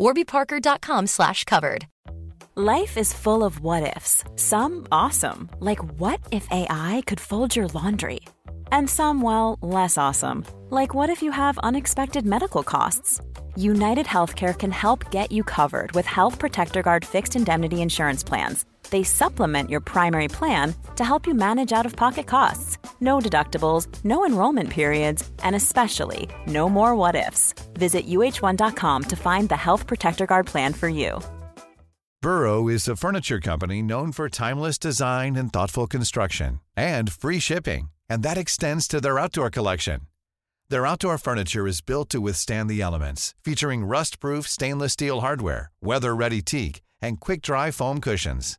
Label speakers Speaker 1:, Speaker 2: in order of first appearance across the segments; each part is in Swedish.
Speaker 1: warbyparker.com slash covered.
Speaker 2: Life is full of what ifs. Some awesome, like what if AI could fold your laundry? And some, well, less awesome, like what if you have unexpected medical costs? United Healthcare can help get you covered with Health Protector Guard fixed indemnity insurance plans. They supplement your primary plan to help you manage out of pocket costs. No deductibles, no enrollment periods, and especially no more what ifs. Visit uh1.com to find the Health Protector Guard plan for you.
Speaker 3: Burrow is a furniture company known for timeless design and thoughtful construction and free shipping, and that extends to their outdoor collection. Their outdoor furniture is built to withstand the elements, featuring rust-proof stainless steel hardware, weather-ready teak, and quick-dry foam cushions.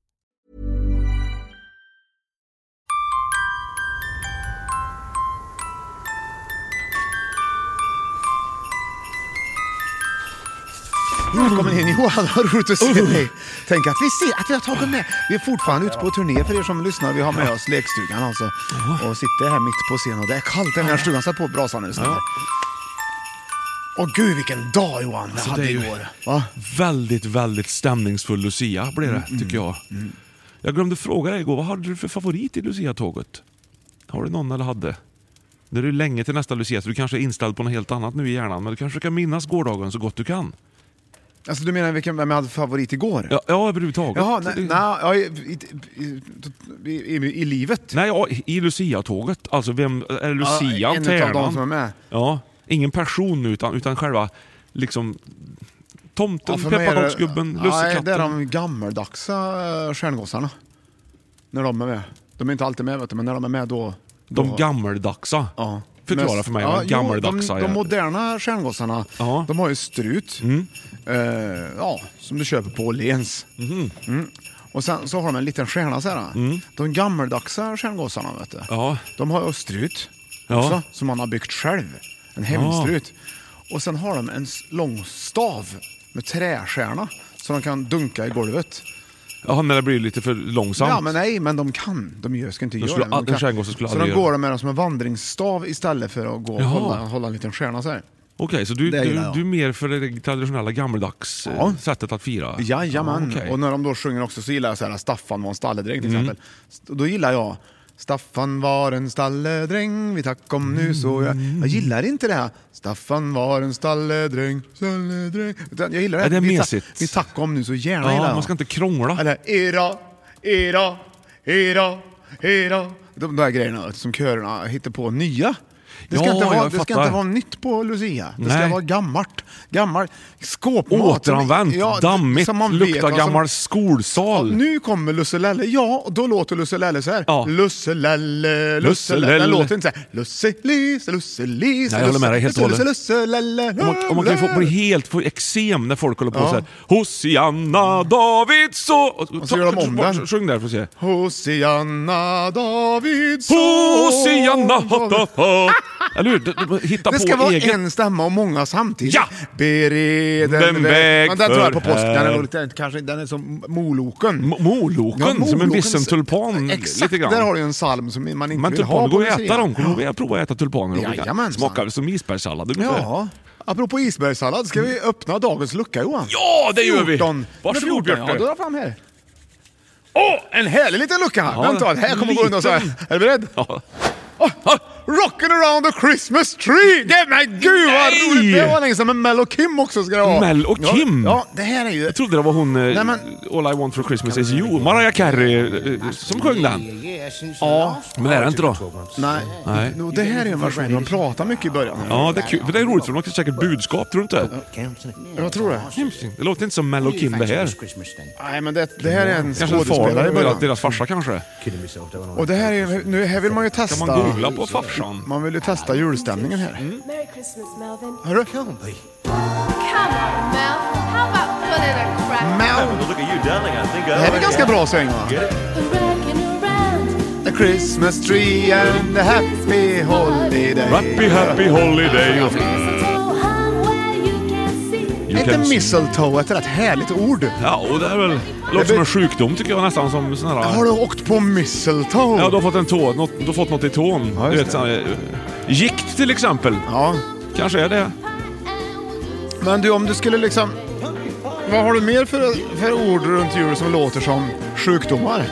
Speaker 4: Välkommen
Speaker 5: Mm.
Speaker 4: in Johan, vad roligt att se
Speaker 5: Uh.
Speaker 4: dig. Tänk att vi ser att vi har tagit med. Vi är fortfarande ute på turné för er som lyssnar. Vi har med oss lekstugan alltså. Och sitter här mitt på scenen och det är kallt. Den här stugan satt på brasan nu. Ja. Åh gud vilken dag Johan vi hade
Speaker 5: Alltså, det är ju-
Speaker 4: igår. Va? Mm,
Speaker 5: Väldigt, väldigt stämningsfull Lucia blev det, tycker jag. Jag glömde fråga dig igår, vad hade du för favorit i Lucia-tåget? Har du någon eller hade? Nu är det ju länge till nästa Lucia, så du kanske är inställd på något helt annat nu i hjärnan, men du kanske kan minnas gårdagen så gott du kan?
Speaker 4: Alltså du menar vilken, vem jag hade för favorit igår?
Speaker 5: Ja, ja överhuvudtaget.
Speaker 4: Jaha,
Speaker 5: Det-
Speaker 4: nej, nej, ja, i, i, i, i, i, i livet.
Speaker 5: Nej, ja, i Lucia-tåget. Alltså, vem, är det
Speaker 4: Ja,
Speaker 5: Lucian,
Speaker 4: en av
Speaker 5: tärnan?
Speaker 4: de som är med.
Speaker 5: Ja, ingen person nu, utan, utan själva liksom tomten,
Speaker 4: för mig är det-
Speaker 5: pepparkaksgubben,
Speaker 4: Ja,
Speaker 5: lussekatten.
Speaker 4: det är de gammeldagsa eh, stjärngossarna. När de är med. De är inte alltid med vet du, men när de är med då...
Speaker 5: De
Speaker 4: då-
Speaker 5: gammeldagsa.
Speaker 4: Ja.
Speaker 5: Förklara
Speaker 4: Men-
Speaker 5: för mig vad
Speaker 4: jo,
Speaker 5: gammeldagsa
Speaker 4: de, de
Speaker 5: är.
Speaker 4: moderna stjärngossarna,
Speaker 5: Ja. Mm.
Speaker 4: de har ju strut. Eh, ja, som du köper på Åhléns.
Speaker 5: Mhm.
Speaker 4: Mm. Och sen så har de en liten stjärna så här. De gammeldagsa stjärngossarna, vet du.
Speaker 5: Mm. Ja.
Speaker 4: De har ju strut
Speaker 5: Ja.
Speaker 4: också, som man har byggt själv. En hemstrut. Och sen har de en s- lång stav med trästjärna som de kan dunka i golvet.
Speaker 5: Ja, när det blir lite för långsamt.
Speaker 4: Ja, men nej, men de kan. De gör, ska inte göra
Speaker 5: skulle
Speaker 4: det. men
Speaker 5: all-
Speaker 4: de
Speaker 5: en
Speaker 4: kan.
Speaker 5: stjärngosse skulle
Speaker 4: så
Speaker 5: aldrig
Speaker 4: de
Speaker 5: göra
Speaker 4: går
Speaker 5: det.
Speaker 4: med dem som en vandringsstav istället för att gå och
Speaker 5: Jaha.
Speaker 4: hålla, hålla en liten stjärna så här.
Speaker 5: Okej, så du,
Speaker 4: Det
Speaker 5: du,
Speaker 4: gillar jag.
Speaker 5: du är mer för det traditionella gammeldags eh,
Speaker 4: Ja.
Speaker 5: sättet att fira?
Speaker 4: Jajamän.
Speaker 5: Ja, okej. Mm.
Speaker 4: Och när de då sjunger också så gillar jag så här Staffan var en stalledräng till exempel. St- Då gillar jag Staffan var en stalledräng, vi tack om nu så jag...
Speaker 5: Mm.
Speaker 4: Jag gillar inte det här. Staffan var en stalledräng, stalledräng. Utan jag gillar det här.
Speaker 5: Ja, det är
Speaker 4: vi,
Speaker 5: mesigt.
Speaker 4: vi tack om nu så gärna gillar
Speaker 5: ja,
Speaker 4: jag.
Speaker 5: man ska inte krångla.
Speaker 4: Eller era, era, era, era. De där grejerna som körerna hittar på nya. Det ska,
Speaker 5: Ja,
Speaker 4: inte, vara,
Speaker 5: jag
Speaker 4: det ska
Speaker 5: fattar.
Speaker 4: inte vara nytt på Lucia. Det ska
Speaker 5: Nej.
Speaker 4: vara gammalt. Gammal skåpmat. som-
Speaker 5: Återanvänt, dammigt,
Speaker 4: som man vet
Speaker 5: luktar
Speaker 4: vad som-
Speaker 5: gammal skolsal.
Speaker 4: Ja, nu kommer Lusse-Lelle. Ja, och då låter Lusse-Lelle så här.
Speaker 5: Ja.
Speaker 4: Lusse-Lelle, Lusse-Lelle. Den
Speaker 5: Lusse-Lelle.
Speaker 4: låter inte så här. Lusse-Lise, Lusse-Lise.
Speaker 5: Nej, jag håller med dig helt och
Speaker 4: Lusse-
Speaker 5: hållet.
Speaker 4: Lusse-Lelle.
Speaker 5: Och man, och man kan ju få, bli helt få eksem när folk håller på
Speaker 4: Ja.
Speaker 5: såhär Hosianna Davidsson! Och,
Speaker 4: så gör de om den.
Speaker 5: Sjung där för att se.
Speaker 4: Hosianna Davidsson.
Speaker 5: Hosianna! ha, ha, ha. Eller hur? De- de- Hitta
Speaker 4: Det
Speaker 5: på
Speaker 4: ska vara
Speaker 5: egen...
Speaker 4: en stämma och många samtidigt.
Speaker 5: Ja!
Speaker 4: Bered en väg.
Speaker 5: Den väg
Speaker 4: Men den tror jag på
Speaker 5: för
Speaker 4: påsk. Den är,
Speaker 5: här.
Speaker 4: nog lite, kanske, den är som Moloken.
Speaker 5: M- Moloken,
Speaker 4: Ja,
Speaker 5: som en
Speaker 4: Molokens-
Speaker 5: vissen tulpan.
Speaker 4: Exakt,
Speaker 5: lite grann.
Speaker 4: där har du ju en psalm som man inte
Speaker 5: Men
Speaker 4: vill ha
Speaker 5: tulpaner
Speaker 4: på
Speaker 5: går ju att
Speaker 4: museer.
Speaker 5: äta dem. Kommer du ihåg att prova att äta tulpaner? Och olika-
Speaker 4: Jajamensan.
Speaker 5: Smakar som isbergssallad ungefär.
Speaker 4: Ja. Apropå isbergssallad, ska vi öppna dagens lucka Johan?
Speaker 5: Ja, det gör vi!
Speaker 4: 14.
Speaker 5: Varsågod
Speaker 4: Nummer 14, Ja,
Speaker 5: Björte.
Speaker 4: då dra fram här. Åh, en härlig liten lucka! här.
Speaker 5: Ja,
Speaker 4: Vänta, det här kommer gå undan så här.
Speaker 5: liten.
Speaker 4: Är du beredd?
Speaker 5: Ja.
Speaker 4: Åh, Ah, Rockin' around the Christmas tree! Det, men gud vad
Speaker 5: Nej!
Speaker 4: roligt! Det var länge sedan, men Mel och Kim också ska det vara.
Speaker 5: Mel och
Speaker 4: Ja,
Speaker 5: Kim?
Speaker 4: Ja, det här är ju...
Speaker 5: Jag trodde det var hon, eh,
Speaker 4: Nej, men-
Speaker 5: All I want for Christmas is you, Mariah Carey, eh, som sjöng den.
Speaker 4: Ja,
Speaker 5: Men det är det inte då?
Speaker 4: nej.
Speaker 5: Nej.
Speaker 4: No, det här är en version de pratar mycket i början.
Speaker 5: Ja, det är kul. För det är roligt för de kan säkert budskap, tror du inte?
Speaker 4: Jag tror det.
Speaker 5: Det låter inte som Mel och Kim det här.
Speaker 4: Nej, men det, det här är en
Speaker 5: Kanske
Speaker 4: skådespelare i
Speaker 5: far, deras,
Speaker 4: början.
Speaker 5: deras farsa kanske.
Speaker 4: Och det här, är, nu, här vill man ju testa...
Speaker 5: Kan man googla på farsan? Mm.
Speaker 4: Man vill ju testa julstämningen här.
Speaker 6: Merry Christmas, Melvin.
Speaker 4: Hörru!
Speaker 6: Come on, Mel. How about putting a crack?
Speaker 4: Mel!
Speaker 7: Look at you, darling. I think I
Speaker 4: Det här är ganska bra sväng va?
Speaker 6: Rocking around.
Speaker 4: The Christmas tree and the happy holiday.
Speaker 5: Happy happy holiday.
Speaker 6: Mistletoe hung where you can see.
Speaker 5: You
Speaker 4: Inte
Speaker 5: can-
Speaker 4: mistletoe ett rätt härligt ord.
Speaker 5: Ja, och det är väl... Låter som en sjukdom tycker jag nästan som sån här...
Speaker 4: Har du åkt på mistletoe?
Speaker 5: Ja, du har fått en tå, något, du har fått något i tån.
Speaker 4: Ja,
Speaker 5: du
Speaker 4: just
Speaker 5: vet,
Speaker 4: det.
Speaker 5: sån, eh, gikt till exempel.
Speaker 4: Ja.
Speaker 5: Kanske är det.
Speaker 4: Men du, om du skulle liksom... Vad har du mer för, för ord runt jul som låter som sjukdomar?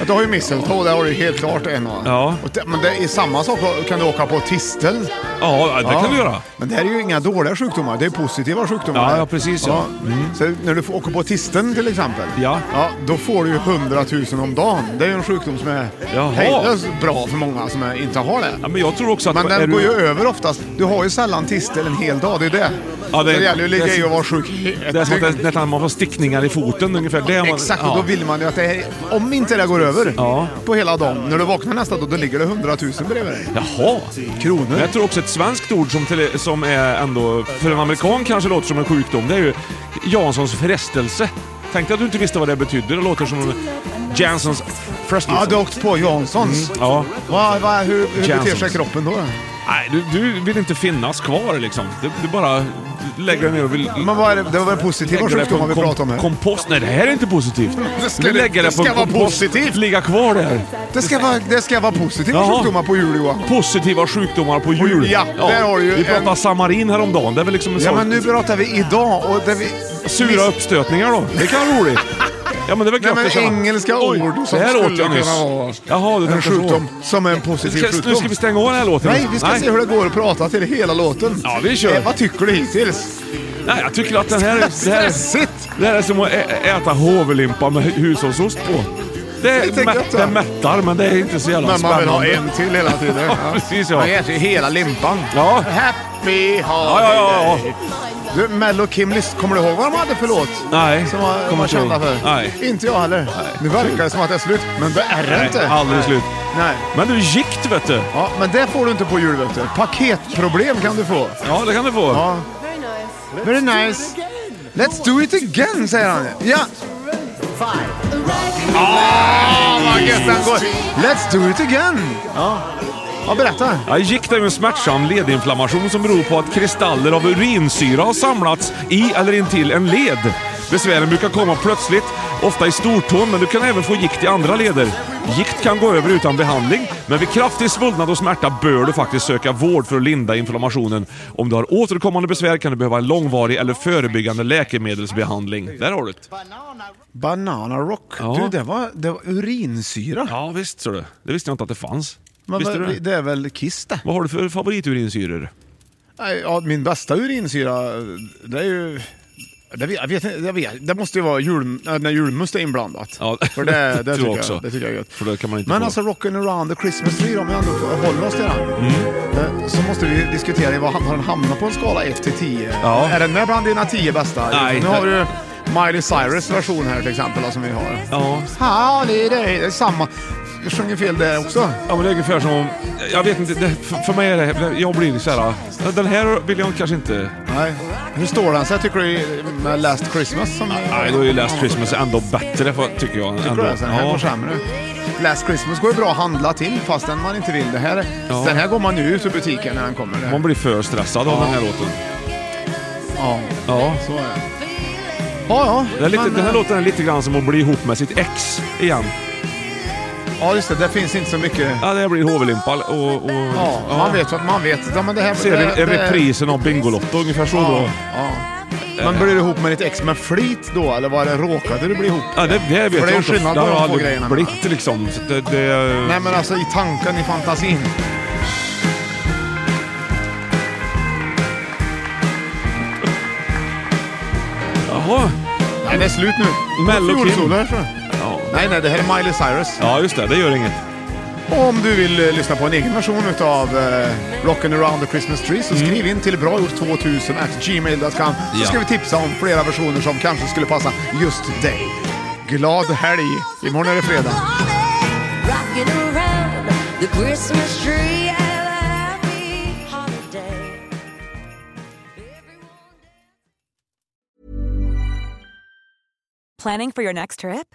Speaker 4: Att Du har ju mistletoe, där har du ju helt klart en va?
Speaker 5: Ja.
Speaker 4: Och det, men det är samma sak, kan du åka på tistel?
Speaker 5: Ja, det kan du göra.
Speaker 4: Men det här är ju inga dåliga sjukdomar, det är positiva sjukdomar.
Speaker 5: Ja, ja, precis, ja. Mm.
Speaker 4: Så när du får åka på tisteln till exempel,
Speaker 5: Ja.
Speaker 4: då får du ju 100 000 om dagen. Det är ju en sjukdom som är
Speaker 5: Jaha.
Speaker 4: hejdlöst bra för många som är, inte har det.
Speaker 5: Ja, men jag tror också att...
Speaker 4: Men
Speaker 5: är
Speaker 4: den
Speaker 5: du-
Speaker 4: går ju över oftast. Du har ju sällan tistel en hel dag, det är ju det.
Speaker 5: Ja, det-
Speaker 4: det, gäller ju att ligga
Speaker 5: det-
Speaker 4: i och vara sjuk
Speaker 5: Det är som
Speaker 4: dygn.
Speaker 5: att nästan man får stickningar i foten ungefär. Det är man,
Speaker 4: Exakt, och
Speaker 5: ja.
Speaker 4: då vill man ju att det är, om inte det går över
Speaker 5: Ja.
Speaker 4: på hela dagen, när du vaknar nästa dag, då ligger det 100 000 bredvid dig.
Speaker 5: Jaha! Men
Speaker 4: Kronor.
Speaker 5: jag tror också ett svenskt ord som, till, som är ändå för en amerikan kanske låter som en sjukdom, det är ju Janssons frestelse. Tänkte att du inte visste vad det betydde. Det låter som Janssons frestelse.
Speaker 4: Ja, du har åkt på Janssons.
Speaker 5: Mm. Ja.
Speaker 4: Va, va, hur hur beter sig
Speaker 5: Janssons.
Speaker 4: kroppen då?
Speaker 5: Nej, du, du vill inte finnas kvar liksom. Du, du bara lägger dig ner och vill...
Speaker 4: Men vad är det, det var väl positiva
Speaker 5: lägger dig på en
Speaker 4: sjukdomar vi
Speaker 5: kom-
Speaker 4: pratade om här?
Speaker 5: Kompost? Nej, det här är inte positivt.
Speaker 4: Det ska
Speaker 5: Du
Speaker 4: det-
Speaker 5: lägger
Speaker 4: det
Speaker 5: dig på
Speaker 4: ska
Speaker 5: en
Speaker 4: vara
Speaker 5: kompost,
Speaker 4: positivt.
Speaker 5: Ligga kvar där.
Speaker 4: Det ska vara, det ska vara positiva
Speaker 5: Jaha.
Speaker 4: sjukdomar på jul Johan.
Speaker 5: Positiva sjukdomar på
Speaker 4: jul,
Speaker 5: jul.
Speaker 4: ja. Där har du ju
Speaker 5: Vi pratade
Speaker 4: en-
Speaker 5: samarin häromdagen. Det är väl liksom en
Speaker 4: Ja
Speaker 5: sån...
Speaker 4: men nu pratar vi idag och det vi...
Speaker 5: Sura uppstötningar då. Det kan vara roligt. Ja men det är väl
Speaker 4: Nej
Speaker 5: gött
Speaker 4: men
Speaker 5: att känna.
Speaker 4: engelska
Speaker 5: Oj,
Speaker 4: ord som
Speaker 5: det här åt
Speaker 4: skulle
Speaker 5: jag
Speaker 4: kunna
Speaker 5: nyss.
Speaker 4: vara
Speaker 5: Jaha, du
Speaker 4: en
Speaker 5: tänker så.
Speaker 4: sjukdom som är en
Speaker 5: Nu
Speaker 4: positiv
Speaker 5: ska,
Speaker 4: sjukdom.
Speaker 5: nu ska vi stänga av den här låten.
Speaker 4: Nej, vi ska se hur det går att prata till hela låten.
Speaker 5: Ja, vi kör.
Speaker 4: Eh, vad tycker du hittills?
Speaker 5: Nej, jag tycker att den här, det, här,
Speaker 4: Stressigt!
Speaker 5: det här är som att ä- äta hovelimpa med hu- hushållsost på. Det, är
Speaker 4: Lite
Speaker 5: mä,
Speaker 4: gött, va?
Speaker 5: det mättar, men det är inte så jävla
Speaker 4: Men man vill
Speaker 5: spännande.
Speaker 4: ha en till hela tiden. Ja.
Speaker 5: Precis, ja.
Speaker 4: Man äter ju hela limpan.
Speaker 5: Ja.
Speaker 4: Happy holiday.
Speaker 5: Ja, ja, ja, ja.
Speaker 4: Du, Mel och Kim, lyssn- kommer du ihåg vad de hade för låt?
Speaker 5: Nej,
Speaker 4: Som var,
Speaker 5: kommer
Speaker 4: var
Speaker 5: inte ihåg.
Speaker 4: kända för?
Speaker 5: Nej.
Speaker 4: Inte jag heller. Nu verkar det som att det är slut, men det är det
Speaker 5: Nej,
Speaker 4: inte.
Speaker 5: aldrig slut.
Speaker 4: Nej.
Speaker 5: Men du, gikt vet du.
Speaker 4: Ja, men det får du inte på jul, vet du. Paketproblem kan du få.
Speaker 5: Ja, det kan du få.
Speaker 4: Ja.
Speaker 6: Very nice.
Speaker 4: Very nice. Let's do it again, säger han. Ja. Åh, Ah, vad gött den går. Let's do it again. Ja, ja berätta.
Speaker 5: Ja, gikt är ju en smärtsam ledinflammation som beror på att kristaller av urinsyra har samlats i eller intill en led. Besvären brukar komma plötsligt, ofta i stortån, men du kan även få gikt i andra leder. Gikt kan gå över utan behandling, men vid kraftig svullnad och smärta bör du faktiskt söka vård för att linda inflammationen. Om du har återkommande besvär kan du behöva en långvarig eller förebyggande läkemedelsbehandling. Där har du det.
Speaker 4: Banana Rock.
Speaker 5: Ja.
Speaker 4: Du, det var, det var urinsyra.
Speaker 5: Ja, visst så du. Det visste jag inte att det fanns.
Speaker 4: Men
Speaker 5: visste
Speaker 4: vad-
Speaker 5: du det?
Speaker 4: det är väl Kiss det?
Speaker 5: Vad har du för favoriturinsyror?
Speaker 4: Nej, Ja, min bästa urinsyra, det är ju... Det, vet, jag vet, inte- jag vet, det måste ju vara jul, äh, när julmust är inblandat.
Speaker 5: Ja,
Speaker 4: För det, det,
Speaker 5: tror
Speaker 4: tycker
Speaker 5: också.
Speaker 4: jag, det tycker jag är gött.
Speaker 5: För det kan man inte
Speaker 4: Men
Speaker 5: få.
Speaker 4: alltså Rockin' around the Christmas tree, om vi ändå får- håller oss till den.
Speaker 5: Mm.
Speaker 4: eh, Så måste vi diskutera i vad han- har den hamnat på en skala 1 till 10.
Speaker 5: Ja.
Speaker 4: Är den med bland dina 10 bästa?
Speaker 5: Nej.
Speaker 4: Nu har vi ju Miley Cyrus version här till exempel då, som vi har.
Speaker 5: Ja,
Speaker 4: Holiday, det är samma. Jag sjunger fel där också.
Speaker 5: Ja men det är ungefär som om... Jag vet inte, det, för, för mig är det... Jag blir så här... Den här vill jag kanske inte...
Speaker 4: Nej. Hur står den sig tycker du med Last Christmas? Som
Speaker 5: Nej, då är ju Last Christmas ändå bättre för, tycker jag.
Speaker 4: Tycker
Speaker 5: ändå.
Speaker 4: du det? Den här
Speaker 5: ja.
Speaker 4: går sämre. Last Christmas går ju bra att handla till fastän man inte vill. Det här,
Speaker 5: Ja.
Speaker 4: Den här går man ju ut ur butiken när den kommer. Det här.
Speaker 5: Man blir för stressad av den här låten.
Speaker 4: Ja,
Speaker 5: Ja.
Speaker 4: så är det. Ja, ja.
Speaker 5: Det är lite,
Speaker 4: men,
Speaker 5: den här
Speaker 4: eh,
Speaker 5: låten är lite grann som att bli ihop med sitt ex igen.
Speaker 4: Ja, just det. Det finns inte så mycket.
Speaker 5: Ja, det blir hovelimpa och... och
Speaker 4: Ja, man vet vad man vet. Ja, men det här,
Speaker 5: Ser
Speaker 4: det,
Speaker 5: det, är
Speaker 4: det-
Speaker 5: reprisen av Bingolotto ungefär så då?
Speaker 4: Ja, ja. Men blir du ihop med ditt ex med flit då, eller var det råkade du bli ihop?
Speaker 5: Ja, det, det
Speaker 4: För
Speaker 5: vet
Speaker 4: det är
Speaker 5: jag
Speaker 4: ju
Speaker 5: inte.
Speaker 4: skillnad
Speaker 5: Det
Speaker 4: på
Speaker 5: har
Speaker 4: de två
Speaker 5: aldrig
Speaker 4: grejerna.
Speaker 5: blivit liksom. Så det, det,
Speaker 4: Nej, men alltså i tanken, i fantasin.
Speaker 5: Jaha.
Speaker 4: Nej, det är slut nu.
Speaker 5: Mello Kim.
Speaker 4: Fjolsolo här, tror jag.
Speaker 5: Ja.
Speaker 4: Nej, nej, det här är Miley Cyrus.
Speaker 5: ja, just det. Det gör inget.
Speaker 4: Och om du vill eh, lyssna på en egen version utav eh, Rockin' around the Christmas tree så skriv in till bragjort2000 at gmail.com så
Speaker 5: Mm. Ja.
Speaker 4: ska vi tipsa om flera versioner som kanske skulle passa just dig. Glad helg! Imorgon är det fredag.
Speaker 7: Rocking around the Christmas tree. Have a happy holiday. Everyone-
Speaker 2: Planning for your next trip?